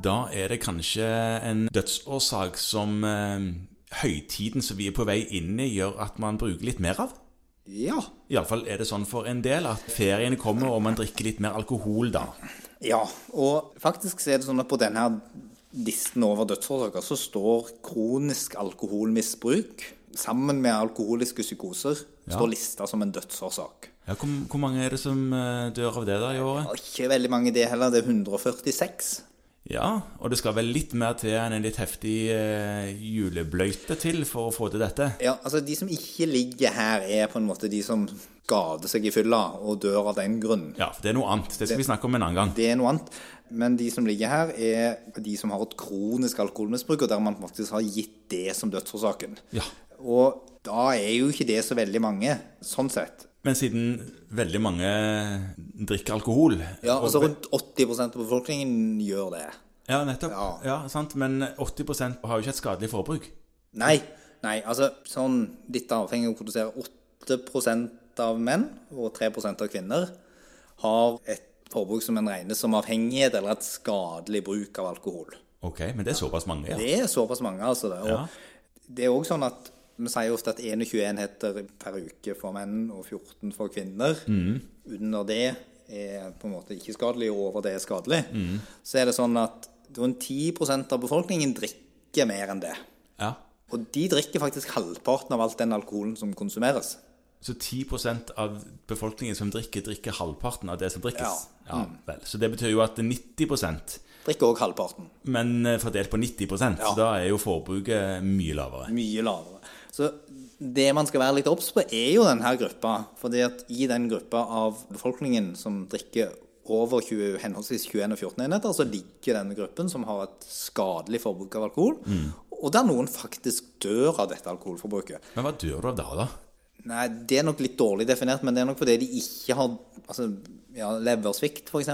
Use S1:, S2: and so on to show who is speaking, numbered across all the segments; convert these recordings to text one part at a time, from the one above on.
S1: da er det kanskje en dødsårsak som eh, høytiden som vi er på vei inn i, gjør at man bruker litt mer av?
S2: Ja.
S1: Iallfall er det sånn for en del at ferien kommer, og man drikker litt mer alkohol da.
S2: Ja, og faktisk så er det sånn at på denne her listen over dødsårsaker så står kronisk alkoholmisbruk sammen med alkoholiske psykoser
S1: Ja.
S2: står lista som en dødsårsak.
S1: Ja, hvor, hvor mange er det som eh, dør av det da i året?
S2: Og ikke veldig mange det heller, det er 146.
S1: Ja, og det skal vel litt mer til enn en litt heftig eh, julebløyte til for å få til dette.
S2: Ja, altså de som ikke ligger her er på en måte de som skader seg i fylla og dør av den grunn.
S1: Ja, for det er noe annet. Det skal vi snakke om en annen gang.
S2: Det er noe annet. Men de som ligger her er de som har et kronisk alkoholmisbruk, og der man faktisk har gitt det som dødsårsaken.
S1: Ja.
S2: Og da er jo ikke det så veldig mange, sånn sett.
S1: Men siden veldig mange eh, drikker alkohol
S2: Ja,
S1: og-
S2: altså Rundt 80 av befolkningen gjør det.
S1: Ja, nettopp. Ja.
S2: Ja.
S1: sant? Men 80 har jo ikke et skadelig forbruk.
S2: Nei, nei, altså sånn litt avhengig av hvor du ser 8 av menn og 3 av kvinner har et forbruk som en regnes som avhengighet eller et skadelig bruk av alkohol.
S1: Ok, men det er såpass mange. Ja.
S2: Det er såpass mange, altså. det. Og
S1: Ja.
S2: det er òg sånn at vi sier ofte at 21 enheter per uke for menn og 14 for kvinner. Under det er på en måte ikke skadelig, og over det er skadelig. Så er det sånn at rundt 10 av befolkningen drikker mer enn det.
S1: Ja.
S2: Og de drikker faktisk halvparten av all den alkoholen som konsumeres.
S1: Så 10 av befolkningen som drikker, drikker halvparten av det som drikkes. Ja. Mm. vel. Så det betyr jo at 90
S2: Drikker òg halvparten.
S1: men eh, fordelt på 90 så
S2: Ja.
S1: da er jo forbruket mye lavere.
S2: Mye lavere. Så det man skal være litt obs på, er jo denne gruppa. fordi at i den gruppa av befolkningen som drikker over 20, henholdsvis 21 og 14 enheter, så ligger denne gruppen som har et skadelig forbruk av alkohol. Og der noen faktisk dør av dette alkoholforbruket.
S1: Men hva dør du av da, da?
S2: Nei, Det er nok litt dårlig definert, men det er nok fordi de ikke har altså, ja, leversvikt, f.eks.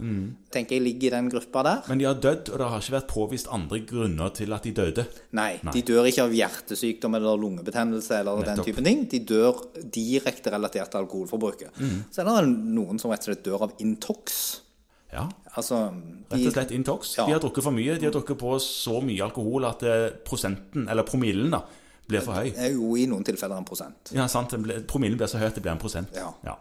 S2: Mm. Tenker jeg ligger i den gruppa der.
S1: Men de har dødd, og det har ikke vært påvist andre grunner til at de døde.
S2: Nei, de dør ikke av hjertesykdom eller lungebetennelse eller
S1: Nettopp.
S2: den typen ting. De dør direkte relatert til alkoholforbruket.
S1: Mm.
S2: Så er det noen som rett og slett dør av intox.
S1: Ja,
S2: Altså
S1: Rett
S2: de,
S1: og slett intox.
S2: Ja.
S1: De har drukket for mye. De har drukket på så mye alkohol at eh, prosenten, eller promillen, da, blir for høy.
S2: er jo i noen tilfeller en prosent.
S1: Ja, sant. den ble- Promillen blir så høy at det blir en prosent.
S2: Ja.
S1: ja.